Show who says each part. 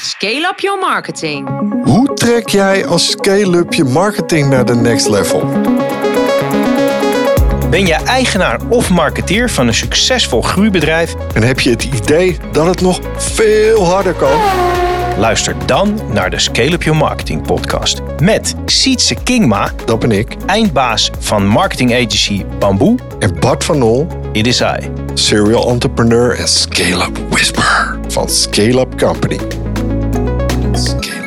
Speaker 1: Scale up your marketing.
Speaker 2: Hoe trek jij als scale-up je marketing naar de next level?
Speaker 3: Ben je eigenaar of marketeer van een succesvol groeibedrijf?
Speaker 2: En heb je het idee dat het nog veel harder kan?
Speaker 3: Luister dan naar de Scale Up Your Marketing podcast met Sietse Kingma,
Speaker 2: Dat ben ik.
Speaker 3: eindbaas van marketing agency Bamboe.
Speaker 2: En Bart van Nol,
Speaker 3: It is I.
Speaker 2: serial entrepreneur en scale-up whisperer van Scale-up Company. Scale-up.